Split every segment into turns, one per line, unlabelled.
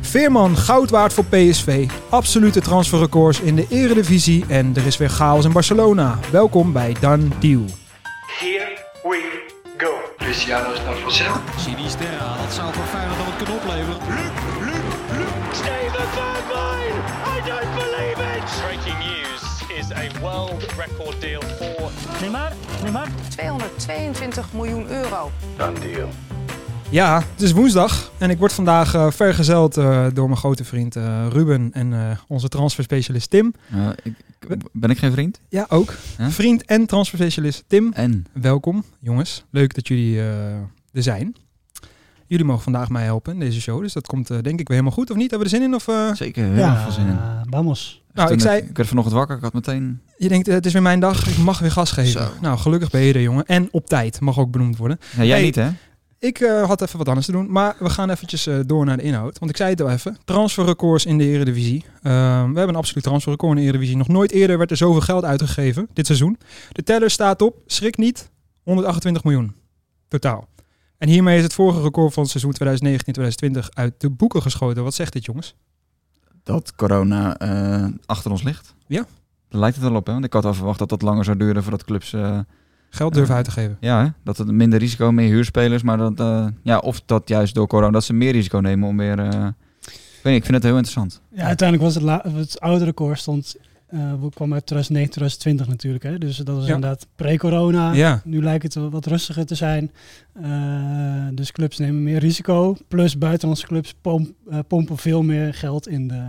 Veerman goud waard voor PSV. Absolute transferrecords in de Eredivisie. En er is weer chaos in Barcelona. Welkom bij Dan Deal.
Here we go. Cristiano is not for sale.
Sinisterra, dat zou voor Feyenoord dan wat kunnen opleveren.
Steven Bergwijn! I don't believe it! Breaking news is a world record deal for
222 miljoen euro.
Ja, het is woensdag. En ik word vandaag eh, vergezeld eh, door mijn grote vriend eh, Ruben. En eh, onze transferspecialist Tim.
Ja, Eh, ik, ik- ben ik geen vriend?
Ja, ook.
Ja?
Vriend en transferspecialist Tim.
En?
Welkom, jongens. Leuk dat jullie eh, er zijn. Jullie mogen vandaag mij helpen in deze show. Dus dat komt eh, denk ik weer helemaal goed. Of niet? Hebben we er zin in? Of, eh,
Zeker, heel erg veel zin in.
Vamos.
Nou,
Toen
ik zei,
Ik werd vanochtend wakker, ik had meteen...
Je denkt, eh, het is weer mijn dag, ik mag weer gas geven.
Zo.
Nou, gelukkig ben je er, jongen. En op tijd, mag ook benoemd worden.
Ja, jij
Hey.
niet, hè?
Ik eh, had even wat anders te doen, maar we gaan eventjes eh, door naar de inhoud. Want ik zei het al even, transferrecords in de Eredivisie. Ehm, we hebben een absoluut transferrecord in de Eredivisie. Nog nooit eerder werd er zoveel geld uitgegeven dit seizoen. De teller staat op, schrik niet, 128 miljoen. Totaal. En hiermee is het vorige record van het seizoen 2019-2020 uit de boeken geschoten. Wat zegt dit, jongens?
Dat corona eh, achter ons ligt.
Ja.
Daar lijkt het wel op, hè? Want ik had al verwacht dat dat langer zou duren voordat clubs... eh,
Geld durven
Ja.
uit te geven.
ja, hè? dat het minder risico, meer huurspelers. Maar dat, eh, ja, of dat juist door corona, dat ze meer risico nemen om weer... eh, ik, weet niet, ik vind het heel interessant.
Ja, uiteindelijk was het, la- het oude record stond, eh we kwamen uit 2009, 2020 natuurlijk. Hè? Dus dat was
Ja.
inderdaad pre-corona.
Ja,
Nu lijkt het wat rustiger te zijn. Eh, dus clubs nemen meer risico. Plus buitenlandse clubs pomp- eh, pompen veel meer geld in de,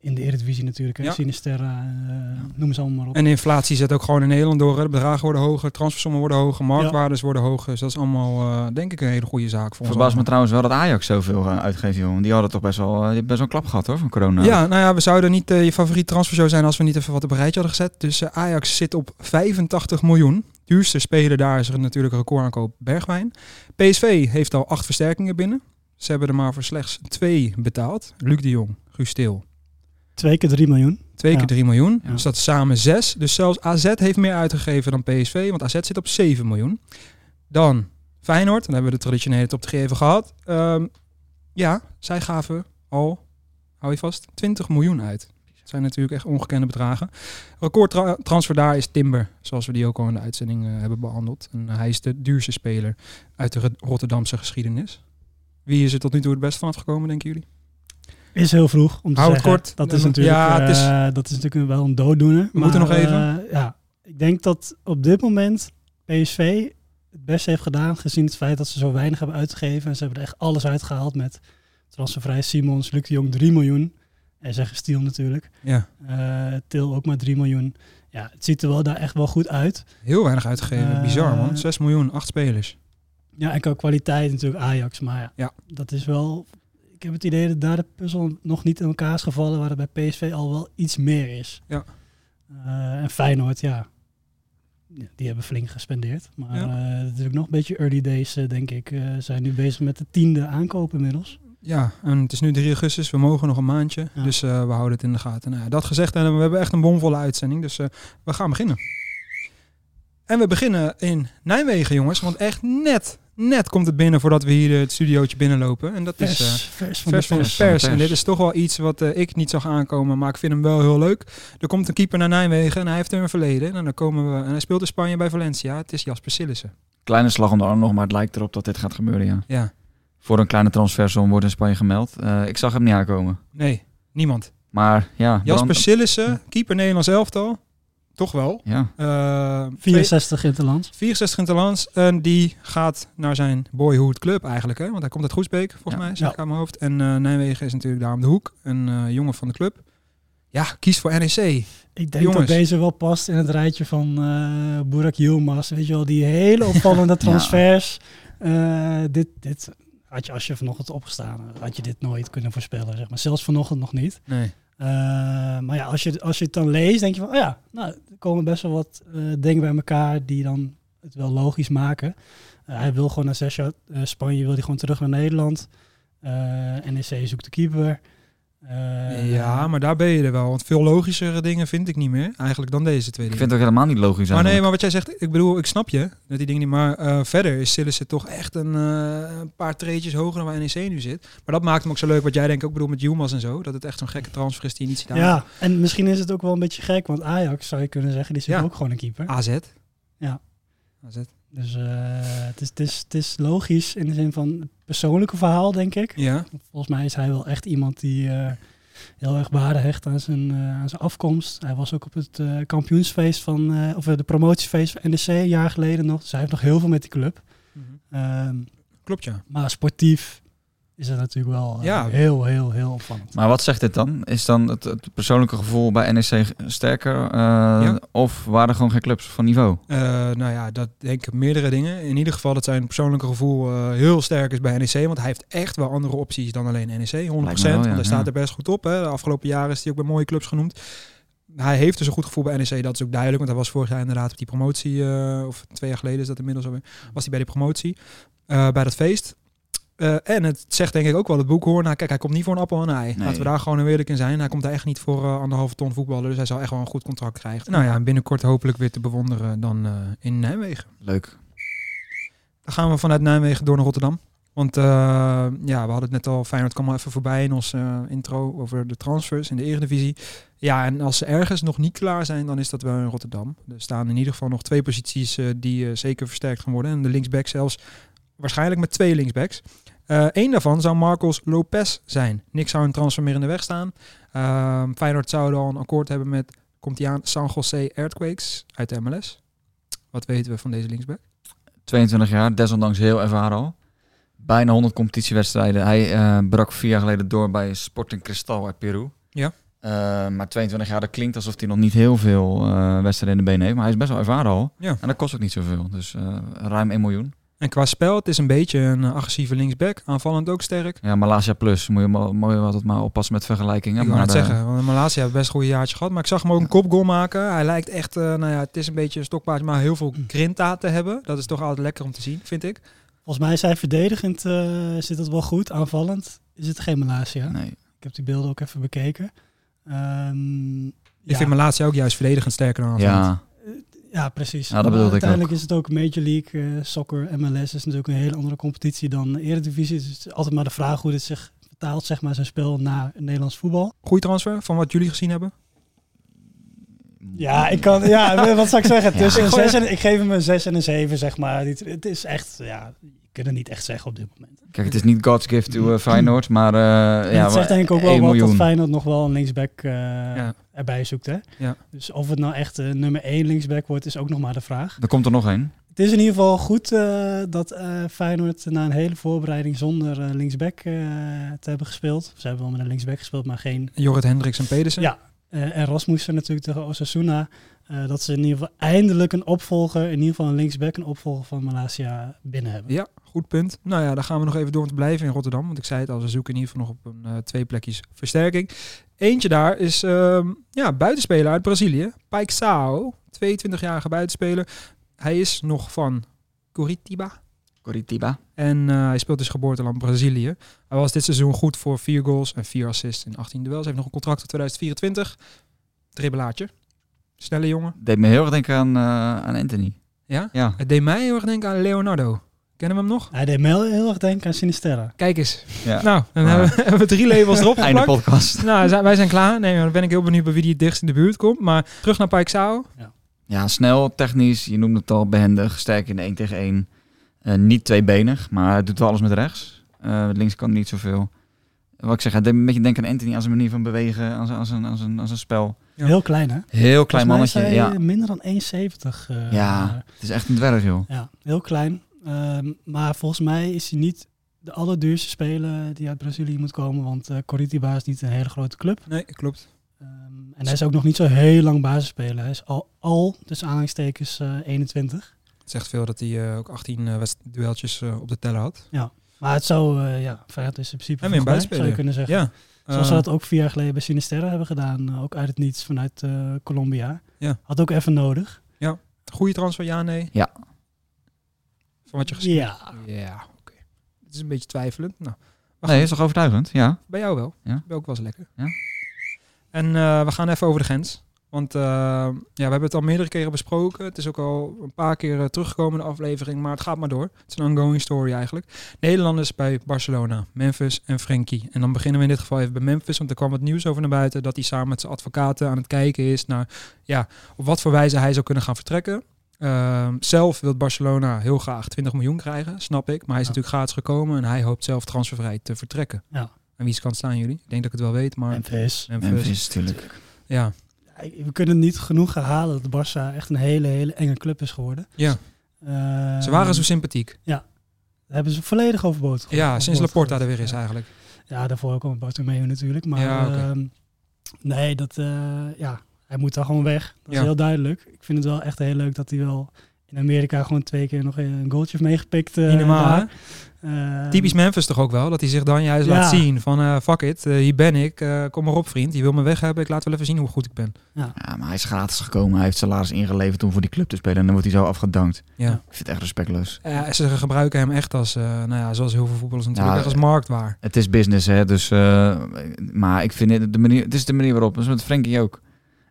in de Eredivisie natuurlijk. Hè?
Ja.
Sinisterra, eh, noem ze allemaal maar op.
En de inflatie zet ook gewoon in Nederland door. hè. De bedragen worden hoger, transfersommen worden hoger, marktwaardes worden hoger. Dus dat is allemaal, eh, denk ik, een hele goede zaak voor ons.
Verbaas me
allemaal.
trouwens wel dat Ajax zoveel eh, uitgeeft, joh. Want Die hadden toch best wel, eh, die hebben best wel een klap gehad, hoor, van corona.
Ja, nou ja, we zouden niet eh, je favoriet transfershow zijn als we niet even wat op een rijtje hadden gezet. Dus eh, Ajax zit op 85 miljoen. Duurste speler daar is er natuurlijk een recordaankoop Bergwijn. PSV heeft al acht versterkingen binnen. Ze hebben er maar voor slechts twee betaald. Luc de Jong, Guus Til.
Twee keer drie miljoen.
Twee keer
Ja.
3 miljoen.
Ja.
Dus dat is samen 6. Dus zelfs AZ heeft meer uitgegeven dan PSV. Want AZ zit op 7 miljoen. Dan Feyenoord. Dan hebben we de traditionele top 3 even gehad. Ehm, ja, zij gaven al, hou je vast, 20 miljoen uit. Dat zijn natuurlijk echt ongekende bedragen. Recordtransfer daar is Timber. Zoals we die ook al in de uitzending eh, hebben behandeld. En hij is de duurste speler uit de Ro- Rotterdamse geschiedenis. Wie is er tot nu toe het best van afgekomen, denken jullie?
Is heel vroeg om te
Hou het
zeggen.
kort.
Dat
Ja,
is
maar-
natuurlijk,
ja, het is-
eh, dat is natuurlijk wel een dooddoener.
We moeten nog even.
eh, ja, ik denk dat op dit moment PSV het beste heeft gedaan, gezien het feit dat ze zo weinig hebben uitgegeven. En ze hebben er echt alles uitgehaald met transfervrij Simons, Luc de Jong 3 miljoen. En zeggen Stiel natuurlijk.
Ja,
Eh, Til ook maar 3 miljoen. Ja, het ziet er wel daar echt wel goed uit.
heel weinig uitgegeven.
Eh,
Bizar man. 6 miljoen, 8 spelers.
Ja, en qua kwaliteit natuurlijk Ajax. Maar ja,
Ja.
dat is wel... Ik heb het idee dat daar de puzzel nog niet in elkaar is gevallen... waar het bij PSV al wel iets meer is.
Ja.
Eh, en Feyenoord, ja. Ja, Die hebben flink gespendeerd. Maar
Ja.
eh het is ook nog een beetje early days, eh, denk ik. Eh, zijn nu bezig met de tiende aankoop inmiddels.
Ja, en het is nu 3 augustus, we mogen nog een maandje.
Ja.
Dus eh, we houden het in de gaten. Nou, ja, dat gezegd, en we hebben echt een bomvolle uitzending. Dus eh, we gaan beginnen. En we beginnen in Nijmegen, jongens. Want echt net, net komt het binnen voordat we hier eh, het studiootje binnenlopen. En dat
Vers,
is eh,
vers van
vers
de
van de
pers.
pers. En
pers.
dit is toch wel iets wat eh, ik niet zag aankomen, maar ik vind hem wel heel leuk. Er komt een keeper naar Nijmegen en hij heeft er een verleden. En dan komen we, en hij speelt in Spanje bij Valencia. Het is Jasper Sillissen.
Kleine slag om de arm nog, maar het lijkt erop dat dit gaat gebeuren, ja.
Ja,
voor een kleine transfersom wordt in Spanje gemeld. Eh, ik zag hem niet aankomen.
nee, niemand.
Maar ja,
Jasper
Brand-
Sillissen, keeper Nederlands elftal. Toch wel.
ja.
Eh,
64 in het land.
64 in het land. En die gaat naar zijn boyhood club eigenlijk. Hè? Want hij komt uit Goesbeek, volgens
Ja.
mij, zeg
Ja.
ik uit mijn hoofd. En eh, Nijmegen is natuurlijk daar om de hoek. Een eh, jongen van de club. Ja, kies voor E NEC.
Ik denk
Jongens.
dat deze wel past in het rijtje van eh Burak Yilmaz. Weet je wel, die hele opvallende transfers. Eh, dit, dit had je als je vanochtend opgestaan, had, had je dit nooit kunnen voorspellen. Zeg maar. Zelfs vanochtend nog niet.
Nee.
Eh, maar ja, als je, als je het dan leest, denk je van, oh ja, nou, er komen best wel wat eh, dingen bij elkaar die dan het wel logisch maken. Eh, hij wil gewoon na E zes jaar eh, Spanje, wil hij gewoon terug naar Nederland. Eh NEC zoekt de keeper. Eh,
ja, maar daar ben je er wel. Want veel logischere dingen vind ik niet meer eigenlijk dan deze twee
Ik
dingen.
vind het ook helemaal niet logisch
maar Oh, nee,
eigenlijk.
maar wat jij zegt, ik bedoel, ik snap je dat die dingen niet. Maar eh, verder is Sillissen toch echt een, eh, een paar treetjes hoger dan waar NEC nu zit. Maar dat maakt hem ook zo leuk, wat jij denk ik ook bedoelt met Jumas en zo. Dat het echt zo'n gekke transfer is die je niet ziet aan.
Ja, en misschien is het ook wel een beetje gek, want Ajax zou je kunnen zeggen, die zit
Ja.
ook gewoon een keeper.
AZ.
Ja.
AZ.
Dus eh, het, is, het, is, het is logisch in de zin van het persoonlijke verhaal, denk ik.
Ja.
Volgens mij is hij wel echt iemand die eh, heel erg waarde hecht aan zijn, eh, aan zijn afkomst. Hij was ook op het eh, kampioensfeest van, eh, of eh, de promotiefeest van NEC een jaar geleden nog. Dus hij heeft nog heel veel met die club.
Mhm.
Ehm,
Klopt ja.
maar sportief is het natuurlijk wel eh,
Ja.
heel, heel, heel opvallend.
Maar wat zegt dit dan? Is dan het, het persoonlijke gevoel bij NEC sterker? eh, Of waren er gewoon geen clubs van niveau?
Eh, nou ja, dat denk ik meerdere dingen. In ieder geval dat zijn persoonlijke gevoel eh, heel sterk is bij NEC. Want hij heeft echt wel andere opties dan alleen E NEC. 100%.
Lijkt me wel, ja,
want hij staat
ja.
er best goed op. Hè. De afgelopen jaren is hij ook bij mooie clubs genoemd. Hij heeft dus een goed gevoel bij NEC. Dat is ook duidelijk. Want hij was vorig jaar inderdaad op die promotie. eh, of twee jaar geleden is dat inmiddels alweer. Was hij bij die promotie. eh, bij dat feest. Eh, en het zegt denk ik ook wel het boekhoorn. Nou, kijk, hij komt niet voor een appel en een ei. Laten we daar gewoon eerlijk in zijn. Hij komt daar echt niet voor eh, anderhalve ton voetballen. Dus hij zal echt wel een goed contract krijgen. Nou ja, en binnenkort hopelijk weer te bewonderen dan eh, in Nijmegen.
Leuk.
Dan gaan we vanuit Nijmegen door naar Rotterdam. Want eh, ja, we hadden het net al, Feyenoord kwam al even voorbij in onze eh, intro over de transfers in de Eredivisie. Ja, en als ze ergens nog niet klaar zijn, dan is dat wel in Rotterdam. Er staan in ieder geval nog twee posities eh, die eh, zeker versterkt gaan worden. En de linksback zelfs waarschijnlijk met twee linksbacks. Eén daarvan zou Marcos Lopez zijn. Niks zou een transfer meer in de weg staan. Ehm Feyenoord zou dan een akkoord hebben met, komt hij aan, San Jose Earthquakes uit de MLS. Wat weten we van deze linksback?
22 jaar, desondanks heel ervaren al. Bijna 100 competitiewedstrijden. Hij eh, brak vier jaar geleden door bij Sporting Cristal uit Peru.
Ja.
Eh, maar 22 jaar, dat klinkt alsof hij nog niet heel veel eh, wedstrijden in de benen heeft. Maar hij is best wel ervaren al.
Ja.
En dat kost ook niet zoveel. Dus eh, ruim 1 miljoen.
En qua spel, het is een beetje een eh, agressieve linksback. Aanvallend ook sterk.
Ja, Malaysia Plus. Moet je, ma- moet je altijd maar oppassen met vergelijkingen.
ik
maar
wou het
eh,
zeggen, want Malasia heeft best een goede jaartje gehad. Maar ik zag hem ook een kopgoal maken. Hij lijkt echt, eh, nou ja, het is een beetje een stokpaardje, maar heel
Hm.
veel grinta te hebben. Dat is toch altijd lekker om te zien, vind ik.
Volgens mij is hij verdedigend, eh, zit dat wel goed. Aanvallend is het geen Malasia.
Nee.
Ik heb die beelden ook even bekeken. Ehm,
Ik vind Malasia ook juist verdedigend sterker dan aanvallend.
Ja,
Ja, precies.
Ja, dat
Maar
bedoelde ik
uiteindelijk is het ook Major League eh, Soccer, MLS is natuurlijk een hele andere competitie dan de Eredivisie. Dus het is altijd maar de vraag hoe dit zich vertaalt, zeg maar, zijn spel naar het Nederlands voetbal.
Goeie transfer, van wat jullie gezien hebben.
Ja, ik kan, ja, wat zou ik zeggen?
Ja.
Tussen een
gooi-
zes en, ik geef hem een 6 en een 7, zeg maar. Dit- Het is echt, ja, je kunt het niet echt zeggen op dit moment.
kijk, het is niet God's gift to eh, Feyenoord, maar... eh
En
ja,
het zegt
maar
denk ik ook
1
wel wat dat
miljoen.
Feyenoord nog wel een linksback eh,
Ja.
erbij zoekt, hè?
Ja.
Dus of het nou echt eh, nummer 1 linksback wordt, is ook nog maar de vraag.
Er komt er nog één.
Het is in ieder geval goed eh, dat eh, Feyenoord na een hele voorbereiding zonder eh, linksback eh, te hebben gespeeld. Ze hebben wel met een linksback gespeeld, maar geen.
Jorrit Hendricks en Pedersen.
Ja. eh en Rasmussen natuurlijk tegen Osasuna. eh, dat ze in ieder geval eindelijk een opvolger, in ieder geval een linksback, een opvolger van Malasia binnen hebben.
Ja, goed punt. Nou ja, dan gaan we nog even door te blijven in Rotterdam. Want ik zei het al, ze zoeken in ieder geval nog op een, eh, twee plekjes versterking. Eentje daar is ehm, ja, buitenspeler uit Brazilië. Paixão, 22-jarige buitenspeler. Hij is nog van Curitiba.
Coritiba.
En eh, hij speelt dus geboorteland Brazilië. Hij was dit seizoen goed voor vier goals en vier assists in 18 duels. Hij heeft nog een contract tot 2024. Dribbelaatje. Snelle jongen.
Deed me heel erg denken aan, eh, aan Anthony.
Ja?
Ja.
Het deed mij heel erg denken aan Leonardo. Kennen we hem nog?
Hij deed me heel heel erg denken aan Sinisterra.
Kijk eens.
ja.
Nou, dan
Ah.
hebben we- hebben we drie labels erop
Einde
geplakt.
podcast.
Nou, zijn- wij zijn klaar. Nee, maar dan ben ik heel benieuwd bij wie die het dichtst in de buurt komt. Maar terug naar Paixão.
Ja, snel, technisch, je noemde het al, behendig, sterk in de 1 tegen 1. Eh, niet tweebenig, maar hij doet wel alles met rechts. Eh, met links kan hij niet zoveel. Wat ik zeg, hij deed me een beetje denken aan Anthony aan zijn manier van bewegen, aan zijn, aan zijn, aan zijn, aan zijn spel.
Ja.
Heel klein, hè?
Heel klein
Volgens
mannetje,
mij is hij
ja.
Minder dan 1,70. eh,
Ja, het is echt een dwerg, joh.
Ja, heel klein. Ehm, maar volgens mij is hij niet de allerduurste speler die uit Brazilië moet komen. Want eh Coritiba is niet een hele grote club.
Nee, klopt.
Ehm, en hij is ook nog niet zo heel lang basisspeler. Hij is al, al tussen aanhalingstekens, eh, 21.
Het zegt veel dat hij eh, ook 18 eh, wedst- dueltjes eh, op de teller had.
Maar het zou, eh, ja, Feyenoord is in principe
En weer een
vergelijk, zou
buitenspeler.
je kunnen zeggen.
Ja.
Zoals ze
Eh,
dat ook vier jaar geleden bij Sinisterra hebben gedaan. eh, ook uit het niets vanuit eh, Colombia.
Ja.
Had ook even nodig.
Goede transfer, ja, nee?
Ja.
Van wat je gezien
Ja.
Ja, oké. Het is een beetje twijfelend. Nou, Maar
Nee,
goed,
is toch overtuigend? Ja.
bij jou wel.
Ja.
Bij ook was lekker.
Ja.
En eh, we gaan even over de grens. Want eh, ja, we hebben het al meerdere keren besproken. Het is ook al een paar keer eh, teruggekomen in de aflevering. Maar het gaat maar door. Het is een ongoing story eigenlijk. Nederlanders bij Barcelona, Memphis en Frenkie. En dan beginnen we in dit geval even bij Memphis. Want er kwam het nieuws over naar buiten. Dat hij samen met zijn advocaten aan het kijken is naar ja, op wat voor wijze hij zou kunnen gaan vertrekken. Ehm, zelf wil Barcelona heel graag 20 miljoen krijgen, snap ik. Maar hij is
Ja.
natuurlijk gratis gekomen en hij hoopt zelf transfervrij te vertrekken.
Ja.
En wie is kan staan jullie? Ik denk dat ik het wel weet, maar...
Memphis.
Memphis.
Memphis natuurlijk.
Ja,
We kunnen niet genoeg herhalen dat Barça echt een hele, hele enge club is geworden.
Ja.
Eh,
ze waren zo sympathiek.
daar hebben ze volledig overboord ge-
Ja, sinds
overboord
Laporta er
gegooid.
weer is
Ja.
eigenlijk.
Ja, daarvoor kwam Bartomeu natuurlijk. Maar
Ja, oké.
ehm, nee, dat, eh, ja, hij moet daar gewoon weg. Dat
Ja.
is heel duidelijk. Ik vind het wel echt heel leuk dat hij wel in Amerika gewoon twee keer nog een goaltje heeft meegepikt. eh,
Niet normaal, hè?
daar. Ehm,
Typisch Memphis toch ook wel, dat hij zich dan juist
Ja.
laat zien van eh, fuck it, eh, hier ben ik, eh, kom maar op vriend, je wil me weg hebben, ik laat wel even zien hoe goed ik ben.
Ja, maar hij is gratis gekomen. Hij heeft salaris ingeleverd om voor die club te spelen. En dan wordt hij zo afgedankt.
Ja.
Ik vind het echt respectloos.
Eh, ze gebruiken hem echt als, eh, nou ja, zoals heel veel voetballers natuurlijk,
Ja, eh,
echt als marktwaar.
Het is business, hè. Dus, eh, maar ik vind het, de manier, het is de manier waarop. Dat is met Frenkie ook.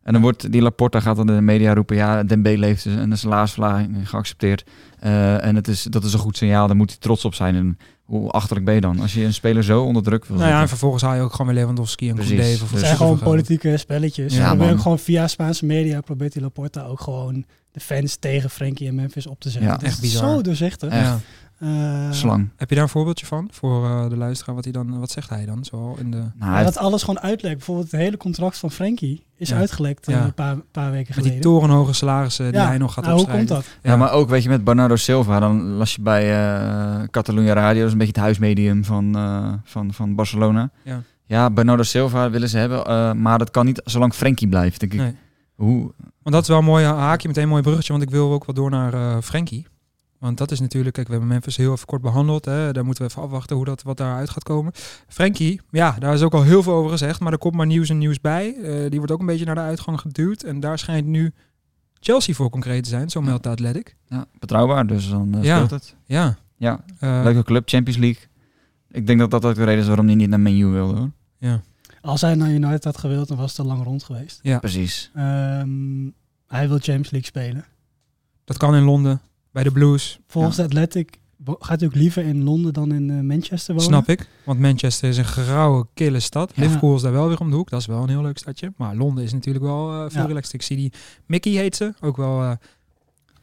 En dan wordt die Laporta gaat dan in de media roepen... ja, Dembele heeft dus een salarisverlaging geaccepteerd. Eh, en het is, dat is een goed signaal. Daar moet hij trots op zijn. En hoe achterlijk ben je dan? Als je een speler zo onder druk wil
Nou ja, en
zetten.
vervolgens haal je ook gewoon weer Lewandowski en
Precies.
Koundé voor
Het
Dus-
zijn
voetbal
gewoon
gaan.
politieke spelletjes.
Ja,
Ja, probeer
man.
ook gewoon via Spaanse media probeert die Laporta ook gewoon de fans tegen Frenkie en Memphis op te zetten.
Ja,
Dat
echt
is
bizar.
Zo doorzichtig.
Echt.
Ja.
Eh,
Slang.
Heb je daar een voorbeeldje van voor eh, de luisteraar? Wat, hij dan, wat zegt hij dan? Zo in de,
Nou,
Ja,
hij-
dat alles gewoon uitlekt. Bijvoorbeeld het hele contract van Frenkie is
Ja.
uitgelekt eh,
Ja.
een paar, paar weken
met die
geleden.
torenhoge salarissen die
Ja,
hij nog gaat
nou, hoe
opschrijven.
komt dat?
Ja, maar ook weet je, met Bernardo Silva, dan las je bij eh Catalunya Radio, dat is een beetje het huismedium van, eh, van, van Barcelona.
Ja.
ja, Bernardo Silva willen ze hebben, eh, maar dat kan niet zolang Frenkie blijft. Denk ik.
Nee.
Hoe?
Want dat is wel een mooi eh, haakje, meteen een mooi bruggetje. Want ik wil ook wel door naar eh Frenkie. Want dat is natuurlijk, kijk, we hebben Memphis heel even kort behandeld. Hè. Daar moeten we even afwachten hoe dat, wat daaruit gaat komen. Frenkie, ja, daar is ook al heel veel over gezegd. Maar er komt maar nieuws en nieuws bij. Eh, die wordt ook een beetje naar de uitgang geduwd. En daar schijnt nu Chelsea voor concreet te zijn. Zo meldt de Athletic.
Ja, betrouwbaar, dus dan eh,
Ja.
speelt het.
Ja.
Ja,
Eh,
leuke club, Champions League. Ik denk dat dat ook de reden is waarom hij niet naar Man U wilde hoor.
Als hij naar United had gewild, dan was het al lang rond geweest.
Precies.
Ehm, hij wil Champions League spelen.
dat kan in Londen, bij de Blues.
Volgens de Athletic wo- gaat hij ook liever in Londen dan in eh, Manchester wonen.
Snap ik. Want Manchester is een grauwe, kille stad.
Ja.
Liverpool is daar wel weer om de hoek. Dat is wel een heel leuk stadje. Maar Londen is natuurlijk wel eh, veel
Ja.
relaxed. Ik zie die Mickey heet ze. Ook wel eh,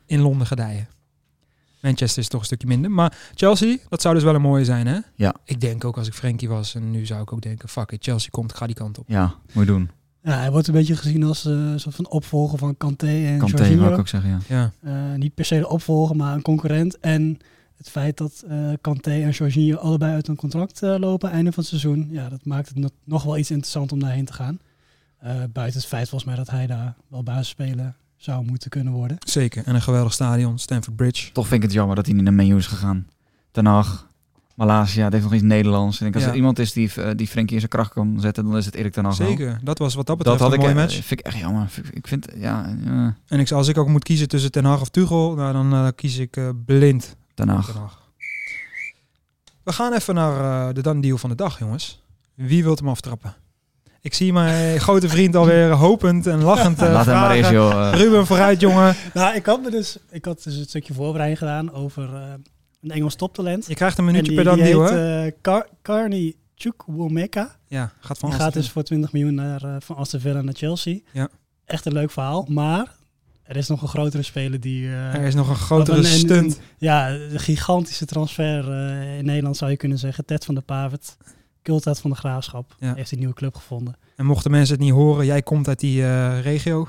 in Londen gedijen. Manchester is toch een stukje minder. Maar Chelsea, dat zou dus wel een mooie zijn, hè?
Ja.
Ik denk ook als ik Frenkie was. En nu zou ik ook denken, fuck it, Chelsea komt, ik ga die kant op.
Ja, moet je doen.
Ja, hij wordt een beetje gezien als eh, een soort van opvolger van Kanté en
Kanté
Jorginho.
wou ik ook zeggen, ja.
Ja,
Eh, niet per se de opvolger, maar een concurrent. En het feit dat eh Kanté en Jorginho allebei uit hun contract eh, lopen einde van het seizoen, ja, dat maakt het no- nog wel iets interessant om daarheen te gaan. Eh, buiten het feit volgens mij dat hij daar wel basisspeler zou moeten kunnen worden.
zeker. En een geweldig stadion, Stamford Bridge.
Toch vind ik het jammer dat hij niet naar Man U is gegaan. Ten Hag, Malaysia, het heeft nog iets Nederlands. Ik denk, als
Ja.
er iemand is die, eh, die Frenkie in zijn kracht kan zetten, dan is het Erik ten Hag wel.
Zeker. Dat was wat dat betreft een mooie
eh,
match.
Vind ik echt jammer. Vind ik- Ik vind, ja, eh,
En ik, als ik ook moet kiezen tussen Ten Hag of Tuchel, nou, dan eh, kies ik eh, blind
Den Haag.
Den Haag. We gaan even naar eh, de dan deal van de dag, jongens. Wie wilt hem aftrappen? Ik zie mijn grote vriend alweer hopend en lachend. eh,
Laat hem maar
vragen.
eens, joh. eh.
Ruben, vooruit, jongen.
Nou, ik had, me dus, ik had dus een stukje voorbereiding gedaan over eh, een Engels toptalent.
Je krijgt een
En
minuutje
die,
per dan
die
deal,
heet
hè?
eh, Car- Carney Chukwomeka.
ja, gaat van
Die
ons
gaat
te
dus voor 20 miljoen naar, eh, van Aston Villa naar Chelsea.
Oh, Ja.
Echt een leuk verhaal. Maar er is nog een grotere speler die... eh,
doen. Er is nog een grotere
wat een- een-
stunt.
ja, een gigantische transfer eh, in Nederland zou je kunnen zeggen. Ted van der Pavert, cult uit van de Graafschap.
Ja.
Heeft een nieuwe club gevonden.
En mochten mensen het niet horen, jij komt uit die eh, regio.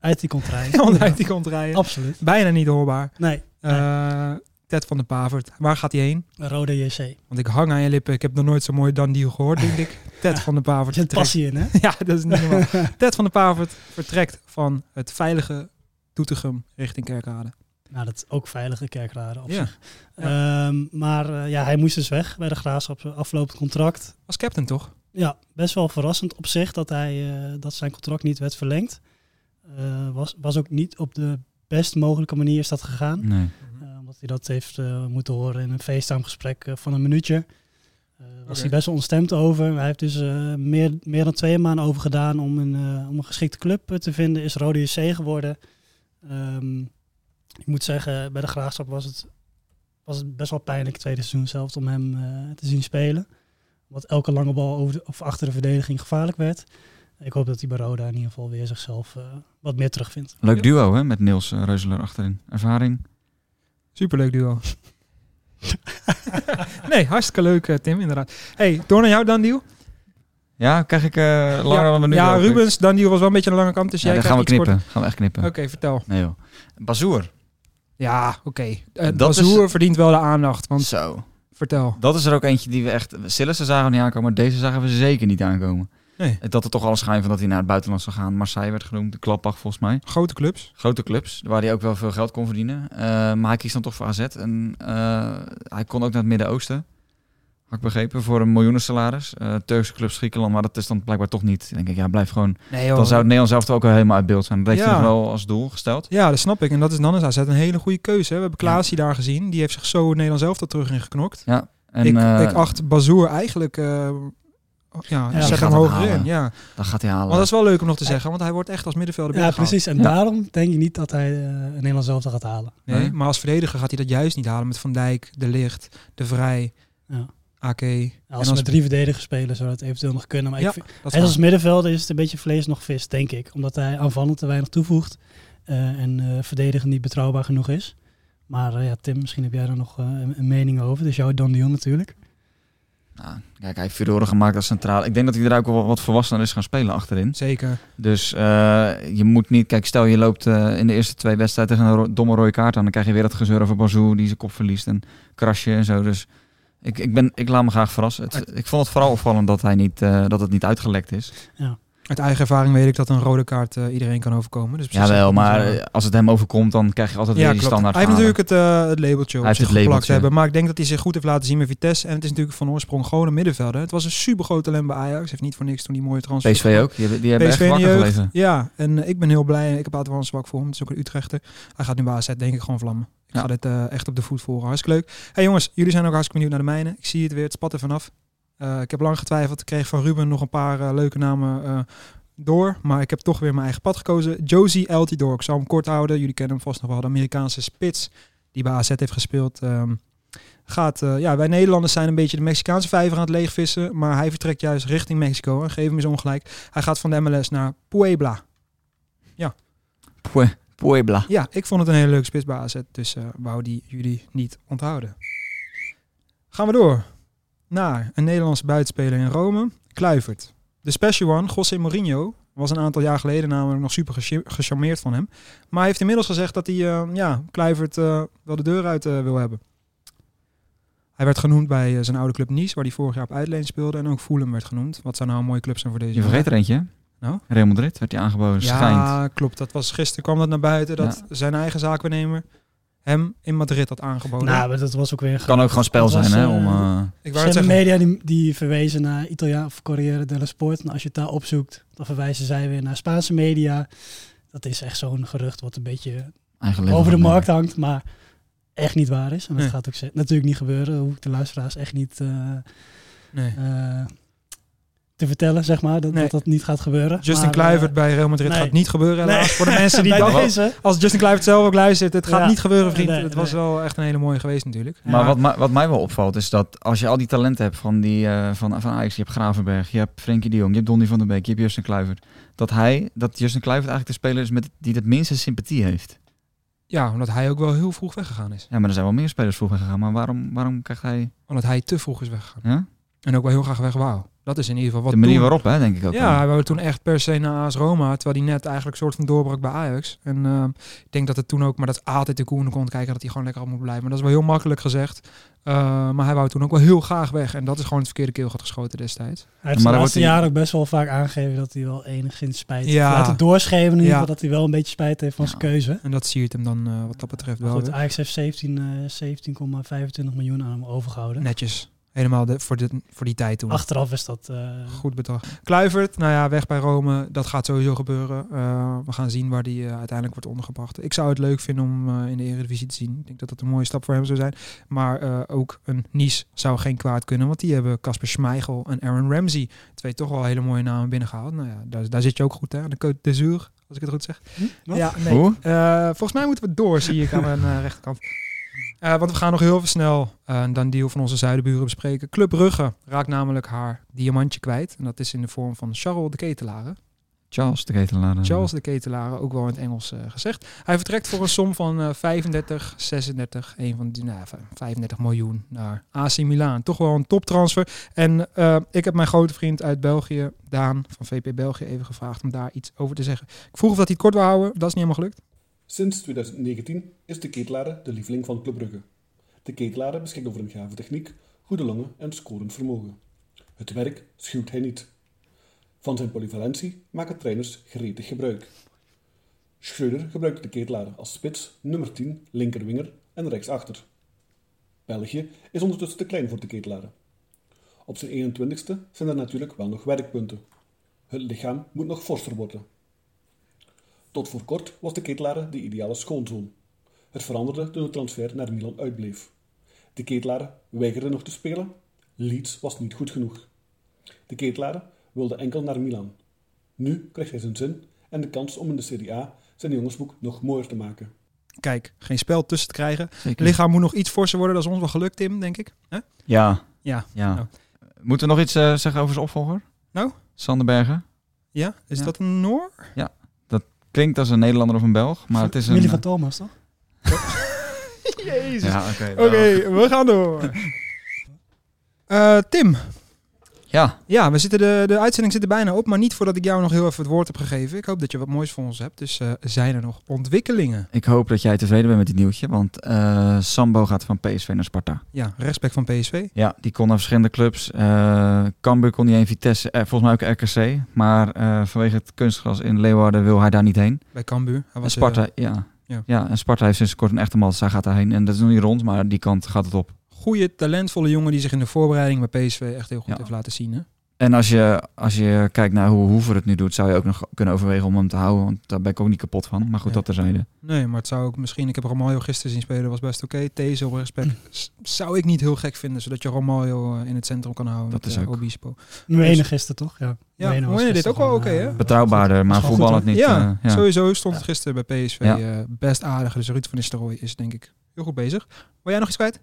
Uit die contraien.
Want uit die komt rijden.
Absoluut.
Bijna niet hoorbaar.
Nee,
Eh, Ted van der Pavert. Waar gaat hij heen?
Rode JC.
Want ik hang aan je lippen. Ik heb nog nooit zo'n mooi dan deal gehoord, denk ik. Ted van der
Er
Pavert.
zit
vertrekt.
passie in, hè?
Ja, dat is niet normaal. Ted van der Pavert vertrekt van het veilige Doetinchem richting Kerkrade.
Nou, dat is ook veilige kerkraden op
Ja.
zich. Ehm, maar eh, ja, hij moest dus weg bij de Graafschap. eh, Aflopend contract.
Als captain toch?
Ja, best wel verrassend op zich dat, hij, eh, dat zijn contract niet werd verlengd. Eh, was, was ook niet op de best mogelijke manier is dat gegaan.
Nee.
Eh, omdat hij dat heeft eh, moeten horen in een FaceTime gesprek eh, van een minuutje. Eh, was
Oké.
hij best wel ontstemd over. Hij heeft dus eh, meer, meer dan twee maanden over gedaan om een, eh, om een geschikte club eh, te vinden. Is Rode JC geworden. Ehm, ik moet zeggen, bij de Graafschap was het, was het best wel pijnlijk het tweede seizoen zelf om hem eh, te zien spelen. Omdat elke lange bal over de- of achter de verdediging gevaarlijk werd. Ik hoop dat hij bij Roda in ieder geval weer zichzelf eh, wat meer terugvindt.
Leuk duo, hè? Met Niels eh, Reuseler achterin. Ervaring.
Superleuk duo. nee, hartstikke leuk, eh, Tim, inderdaad. hey, door naar jou, Dandiel.
Ja, krijg ik eh langer dan een minuut?
Ja,
loop ik?
Rubens, Dandiel was wel een beetje aan de lange kant, dus
Ja,
jij
daar gaan we
krijgt iets korter.
knippen. Gaan we echt knippen.
Oké, vertel.
Nee joh. Bazoer.
Ja, oké. Eh
Dat
Bazoer verdient wel de aandacht, want
Zo.
vertel.
Dat is er ook eentje die we echt... Sillissen zagen we niet aankomen, maar deze zagen we zeker niet aankomen.
Nee.
Dat er toch alles schijn van dat hij naar het buitenland zou gaan. Marseille werd genoemd, de klappach volgens mij.
Grote clubs.
Grote clubs, waar hij ook wel veel geld kon verdienen. Eh, maar hij kiest dan toch voor AZ. En eh, hij kon ook naar het Midden-Oosten. Had ik begrepen, voor een miljoenen salaris. Eh, Turkse clubs, Griekenland, maar dat is dan blijkbaar toch niet. Dan denk ik, ja, blijf gewoon...
Nee, joh.
Dan zou het Nederland zelf toch ook al helemaal uit beeld zijn. Dat heeft
Ja.
hij nog wel als doel gesteld.
Ja, dat snap ik. En dat is dan is AZ een hele goede keuze. hè. We hebben Klaasie daar gezien. Die heeft zich zo het Nederlands elftal terug in geknokt.
En
ik,
eh,
ik acht Bazoer eigenlijk... eh, ja,
die
zet
gaat
hem
hem
hoger
halen. Oh,
in. Ja.
dan gaat hij halen.
Maar dat is wel leuk om nog te zeggen, want hij wordt echt als middenvelder
Ja,
binnengehaald.
precies. En
Ja.
daarom denk je niet dat hij eh, een Nederlands elftal gaat halen.
Nee,
Nee.
maar als verdediger gaat hij dat juist niet halen met Van Dijk, De Licht, De Vrij,
Ja.
AK.
Ja, Als ze met drie verdedigers spelen zou dat eventueel nog kunnen. Maar
Ja,
ik vind,
dat is
hij is als
waar.
middenvelder is het een beetje vlees nog vis, denk ik. Omdat hij aanvallend te weinig toevoegt eh, en eh verdedigend niet betrouwbaar genoeg is. Maar eh, ja, Tim, misschien heb jij daar nog eh, een, een mening over. Dus jouw Don Dion natuurlijk.
Nou, kijk, hij heeft furoren gemaakt als centraal. Ik denk dat hij er ook wel wat volwassener is gaan spelen achterin.
Zeker.
Dus eh, je moet niet... Kijk, stel je loopt eh, in de eerste twee wedstrijden tegen een ro- domme rode kaart aan. Dan krijg je weer dat gezeur over Bazou die zijn kop verliest. En krasje en zo. Dus ik, ik, ben, ik laat me graag verrassen. Het- ik vond het vooral opvallend dat, hij niet, eh, dat het niet uitgelekt is.
Uit eigen ervaring weet ik dat een rode kaart eh, iedereen kan overkomen. Dus op zich
Jawel,
is dat niet
maar
zo-
eh, als het hem overkomt, dan krijg je altijd
ja,
weer die
klopt. Hij heeft
standaard verhalen.
natuurlijk het, eh, het labeltje op
Hij
zich
heeft het
geplakt
labeltje.
hebben. Maar ik denk dat hij zich goed heeft laten zien met Vitesse. En het is natuurlijk van oorsprong gewoon een middenvelder. Het was een supergroot talent bij Ajax. Heeft niet voor niks toen die mooie transfer.
PSV ook. Die, hebben- die hebben
PSV
eh, echt
in de
wakker
jeugd.
gelegen.
Ja, en eh, ik ben heel blij. Ik heb altijd wel een zwak voor hem. Het is ook een Utrechter. Hij gaat nu bij AZ denk ik gewoon vlammen. Ik
Ja.
ga dit eh, echt op de voet volgen. Hartstikke leuk. Hey jongens, jullie zijn ook hartstikke benieuwd naar de mijne. Ik zie het weer. Het spat er vanaf. Eh, ik heb lang getwijfeld. Ik kreeg van Ruben nog een paar eh, leuke namen eh, door. Maar ik heb toch weer mijn eigen pad gekozen. Josie Altidore. Ik zal hem kort houden. Jullie kennen hem vast nog wel. De Amerikaanse spits die bij AZ heeft gespeeld. Ehm, gaat, eh, ja, wij Nederlanders zijn een beetje de Mexicaanse vijver aan het leegvissen. Maar hij vertrekt juist richting Mexico. En geef hem eens ongelijk. Hij gaat van de MLS naar Puebla.
Pue- Puebla.
Ja, ik vond het een hele leuke spits bij AZ. Dus eh wou die jullie niet onthouden. Gaan we door naar een Nederlandse buitenspeler in Rome, Kluivert. De special one, José Mourinho, was een aantal jaar geleden namelijk nog super gecha- gecharmeerd van hem. Maar hij heeft inmiddels gezegd dat hij eh, ja, Kluivert eh, wel de deur uit eh, wil hebben. Hij werd genoemd bij eh, zijn oude club Nice, waar hij vorig jaar op uitleen speelde. En ook Fulham werd genoemd. Wat zou nou een mooie club zijn voor deze
Je vergeet er eentje, hè?
Nou?
Real Madrid werd hij aangeboden. Dus Schijnt.
ja, klopt. Dat was gisteren kwam dat naar buiten dat zijn eigen zaakwaarnemer hem in Madrid had aangeboden.
Nou, maar dat was ook weer...
Oh, Kan ook gewoon spel
Dat was,
zijn, hè?
eh,
Om, eh,
ik
Ze
wou het
hebben
zeggen.
media die, die verwezen naar Italiaan of Corriere dello Sport. En als je het daar opzoekt, dan verwijzen zij weer naar Spaanse media. Dat is echt zo'n gerucht wat een beetje
eigen leven
over de
van
markt hangt, maar echt niet waar is. En dat
Nee.
gaat ook ze- natuurlijk niet gebeuren. Dat hoef ik de luisteraars echt niet eh,
Nee.
eh, te vertellen, zeg maar, dat
Nee.
dat, dat niet gaat gebeuren.
Justin
Maar,
Kluivert
eh,
bij Real Madrid
nee.
gaat niet gebeuren.
Nee.
Helaas. Voor de mensen die
bij
dachten,
deze.
als Justin Kluivert zelf ook luistert, het gaat
Ja.
niet gebeuren, vriend.
Nee,
het was
nee.
wel echt een hele mooie geweest natuurlijk.
Maar wat, mij- wat mij wel opvalt is dat als je al die talenten hebt van, die, eh, van, van Ajax, je hebt Gravenberg, je hebt Frenkie de Jong, je hebt Donny van der Beek, je hebt Justin Kluivert. Dat hij, dat Justin Kluivert eigenlijk de speler is met, die het minste sympathie heeft.
Ja, omdat hij ook wel heel vroeg weggegaan is.
Ja, maar er zijn wel meer spelers vroeger gegaan, maar waarom, waarom krijgt hij
Omdat hij te vroeg is weggegaan.
ja?
En ook wel heel graag weg wou. Dat is in ieder geval wat
de manier
toen-
waarop, hè, denk ik ook.
Ja,
wel.
hij wou toen echt per se naar AS Roma, terwijl hij net eigenlijk soort van doorbrak bij Ajax. En ehm, ik denk dat het toen ook, maar dat is altijd de koen kon kijken dat hij gewoon lekker op moet blijven. Maar dat is wel heel makkelijk gezegd. Eh, maar hij wou toen ook wel heel graag weg. En dat is gewoon het verkeerde keelgat geschoten destijds.
Hij heeft
dan
de
wordt
laatste
hij-
jaren ook best wel vaak aangegeven dat hij wel enigszins spijt heeft.
Ja.
Laten doorschemen in ieder
Ja.
geval dat hij wel een beetje spijt heeft van
Ja.
zijn keuze.
En dat siert hem dan eh, wat dat betreft wel
Goed,
weer.
Ajax heeft 17, eh, 17,25 miljoen aan hem overgehouden.
netjes. Heeft Helemaal de, voor, dit, voor die tijd toen.
Achteraf is dat... eh,
Goed bedrag. Kluivert, nou ja, weg bij Rome. Dat gaat sowieso gebeuren. Eh, we gaan zien waar die eh, uiteindelijk wordt ondergebracht. Ik zou het leuk vinden om eh, in de Eredivisie te zien. Ik denk dat dat een mooie stap voor hem zou zijn. Maar eh, ook een Nice zou geen kwaad kunnen. Want die hebben Casper Schmeichel en Aaron Ramsey. Twee toch wel hele mooie namen binnengehaald. Nou ja, daar, daar zit je ook goed hè. Aan De Côte d'Azur, als ik het goed zeg.
Wat?
Ja, nee.
Hoe?
Eh, volgens mij moeten we door, zie ik aan mijn eh, rechterkant. Eh, want we gaan nog heel even snel eh, dan deal van onze zuidenburen bespreken. Club Brugge raakt namelijk haar diamantje kwijt. En dat is in de vorm van Charles de Ketelare.
Charles de eh, Ketelaren.
Charles de Ketelare, ook wel in het Engels eh, gezegd. Hij vertrekt voor een som van eh, 35, 36, een van die, nou, 35 miljoen naar AC Milan. Toch wel een toptransfer. En eh, ik heb mijn grote vriend uit België, Daan van VP België, even gevraagd om daar iets over te zeggen. Ik vroeg of dat hij het kort wil houden. Dat is niet helemaal gelukt.
Sinds 2019 is de ketelaren de lieveling van Club Brugge. De ketelaren beschikt over een gave techniek, goede longen en scorend vermogen. Het werk schuwt hij niet. Van zijn polyvalentie maken trainers gretig gebruik. Schreuder gebruikte de ketelaren als spits, nummer 10, linkerwinger en rechtsachter. België is ondertussen te klein voor de ketelaren. Op zijn 21ste zijn er natuurlijk wel nog werkpunten. Het lichaam moet nog forser worden. Tot voor kort was de ketelare de ideale schoonzoon. Het veranderde toen de transfer naar Milan uitbleef. De ketelare weigerde nog te spelen. Leeds was niet goed genoeg. De ketelare wilde enkel naar Milan. Nu kreeg hij zijn zin en de kans om in de Serie A zijn jongensboek nog mooier te maken.
kijk, geen spel tussen te krijgen. Het
Zeker.
lichaam moet nog iets forser worden. Dat is ons wel gelukt, Tim, denk ik. Hè?
Ja.
Ja.
ja.
Oh.
Moeten we nog iets eh, zeggen over zijn opvolger?
Nou?
Sander Bergen.
Ja? Is
Ja.
dat een Noor?
Klinkt als een Nederlander of een Belg, maar het is een... eh,
Willy van Thomas, toch?
Jezus.
Ja, oké.
Oké, we gaan door. Eh, Tim,
Ja,
ja, we zitten de, de uitzending zit er bijna op, maar niet voordat ik jou nog heel even het woord heb gegeven. Ik hoop dat je wat moois voor ons hebt, dus eh, zijn er nog ontwikkelingen?
ik hoop dat jij tevreden bent met dit nieuwtje, want eh, Sambo gaat van PSV naar Sparta.
Ja, respect van PSV.
Ja, die kon naar verschillende clubs. Eh Cambuur kon niet heen, Vitesse, eh, volgens mij ook RKC. Maar eh, vanwege het kunstgras in Leeuwarden wil hij daar niet heen.
Bij Cambuur. Hij
En
was,
Sparta,
eh,
ja.
ja.
Ja. en Sparta heeft sinds kort een echte man, dus hij gaat daarheen. En dat is nog niet rond, maar die kant gaat het op.
goede, talentvolle jongen die zich in de voorbereiding bij PSV echt heel goed
Ja.
heeft laten zien. Hè?
En als je, als je kijkt naar hoe Hoever het nu doet, zou je ook nog kunnen overwegen om hem te houden. Want daar ben ik ook niet kapot van. Maar goed,
Ja.
dat terzijde.
Nee, maar het zou ook misschien... Ik heb Romario gisteren zien spelen, was best oké. Deze op
Mm.
respect s- zou ik niet heel gek vinden, zodat je Romario eh, in het centrum kan houden.
Dat
met,
is
eh,
ook-
Obispo.
Nu enig gisteren, toch? Ja,
Ja,
Moreno
Moreno
was
deed
gisteren
ook wel
gewoon,
oké,
eh,
hè?
Betrouwbaarder, maar
is wel goed,
voetballend niet.
ja,
eh, ja.
sowieso stond het gisteren bij PSV
Ja.
eh, best aardig. Dus Ruud van Nistelrooy is denk ik heel goed bezig. Wil jij nog iets kwijt?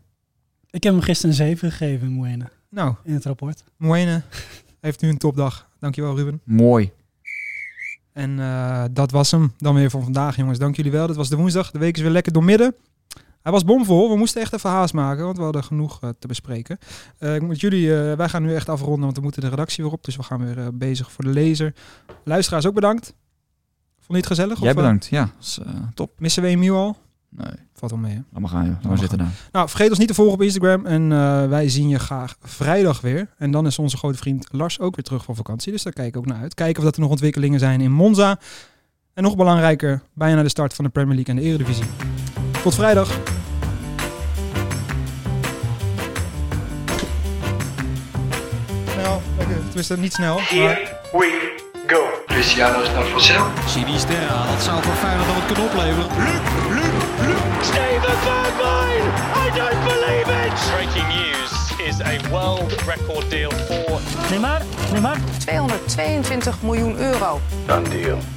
Ik heb hem gisteren een 7 gegeven, Moene,
Nou,
in het rapport.
Moene heeft nu een topdag. Dankjewel Ruben.
Mooi.
En eh, dat was hem dan weer voor vandaag, jongens. Dank jullie wel. Dat was de woensdag. De week is weer lekker doormidden. Hij was bomvol. We moesten echt even haast maken, want we hadden genoeg eh, te bespreken. Eh, ik moet jullie, eh, wij gaan nu echt afronden, want we moeten de redactie weer op. Dus we gaan weer eh, bezig voor de lezer. Luisteraars ook bedankt. Vond je het gezellig? Of,
Jij
eh,
bedankt. Ja, is, eh, top.
missen we Emiel al?
Nee,
Valt wel mee, hè?
laat maar gaan, joh. Laat
maar
maar zitten daar.
Nou, vergeet ons niet te volgen op Instagram. En eh, wij zien je graag vrijdag weer. En dan is onze grote vriend Lars ook weer terug van vakantie. Dus daar kijk ik ook naar uit. Kijken of dat er nog ontwikkelingen zijn in Monza. En nog belangrijker, bijna de start van de Premier League en de Eredivisie. Tot vrijdag. Snel, lekker. Tenminste, niet snel. Maar...
Here we go. Cristiano is naar Vassel.
Sinisterra, dat zou voor Feyenoord dan wat kunnen opleveren.
Steven Bergwijn! I don't believe it! Breaking news is a world record deal for
222 miljoen euro.
Done deal.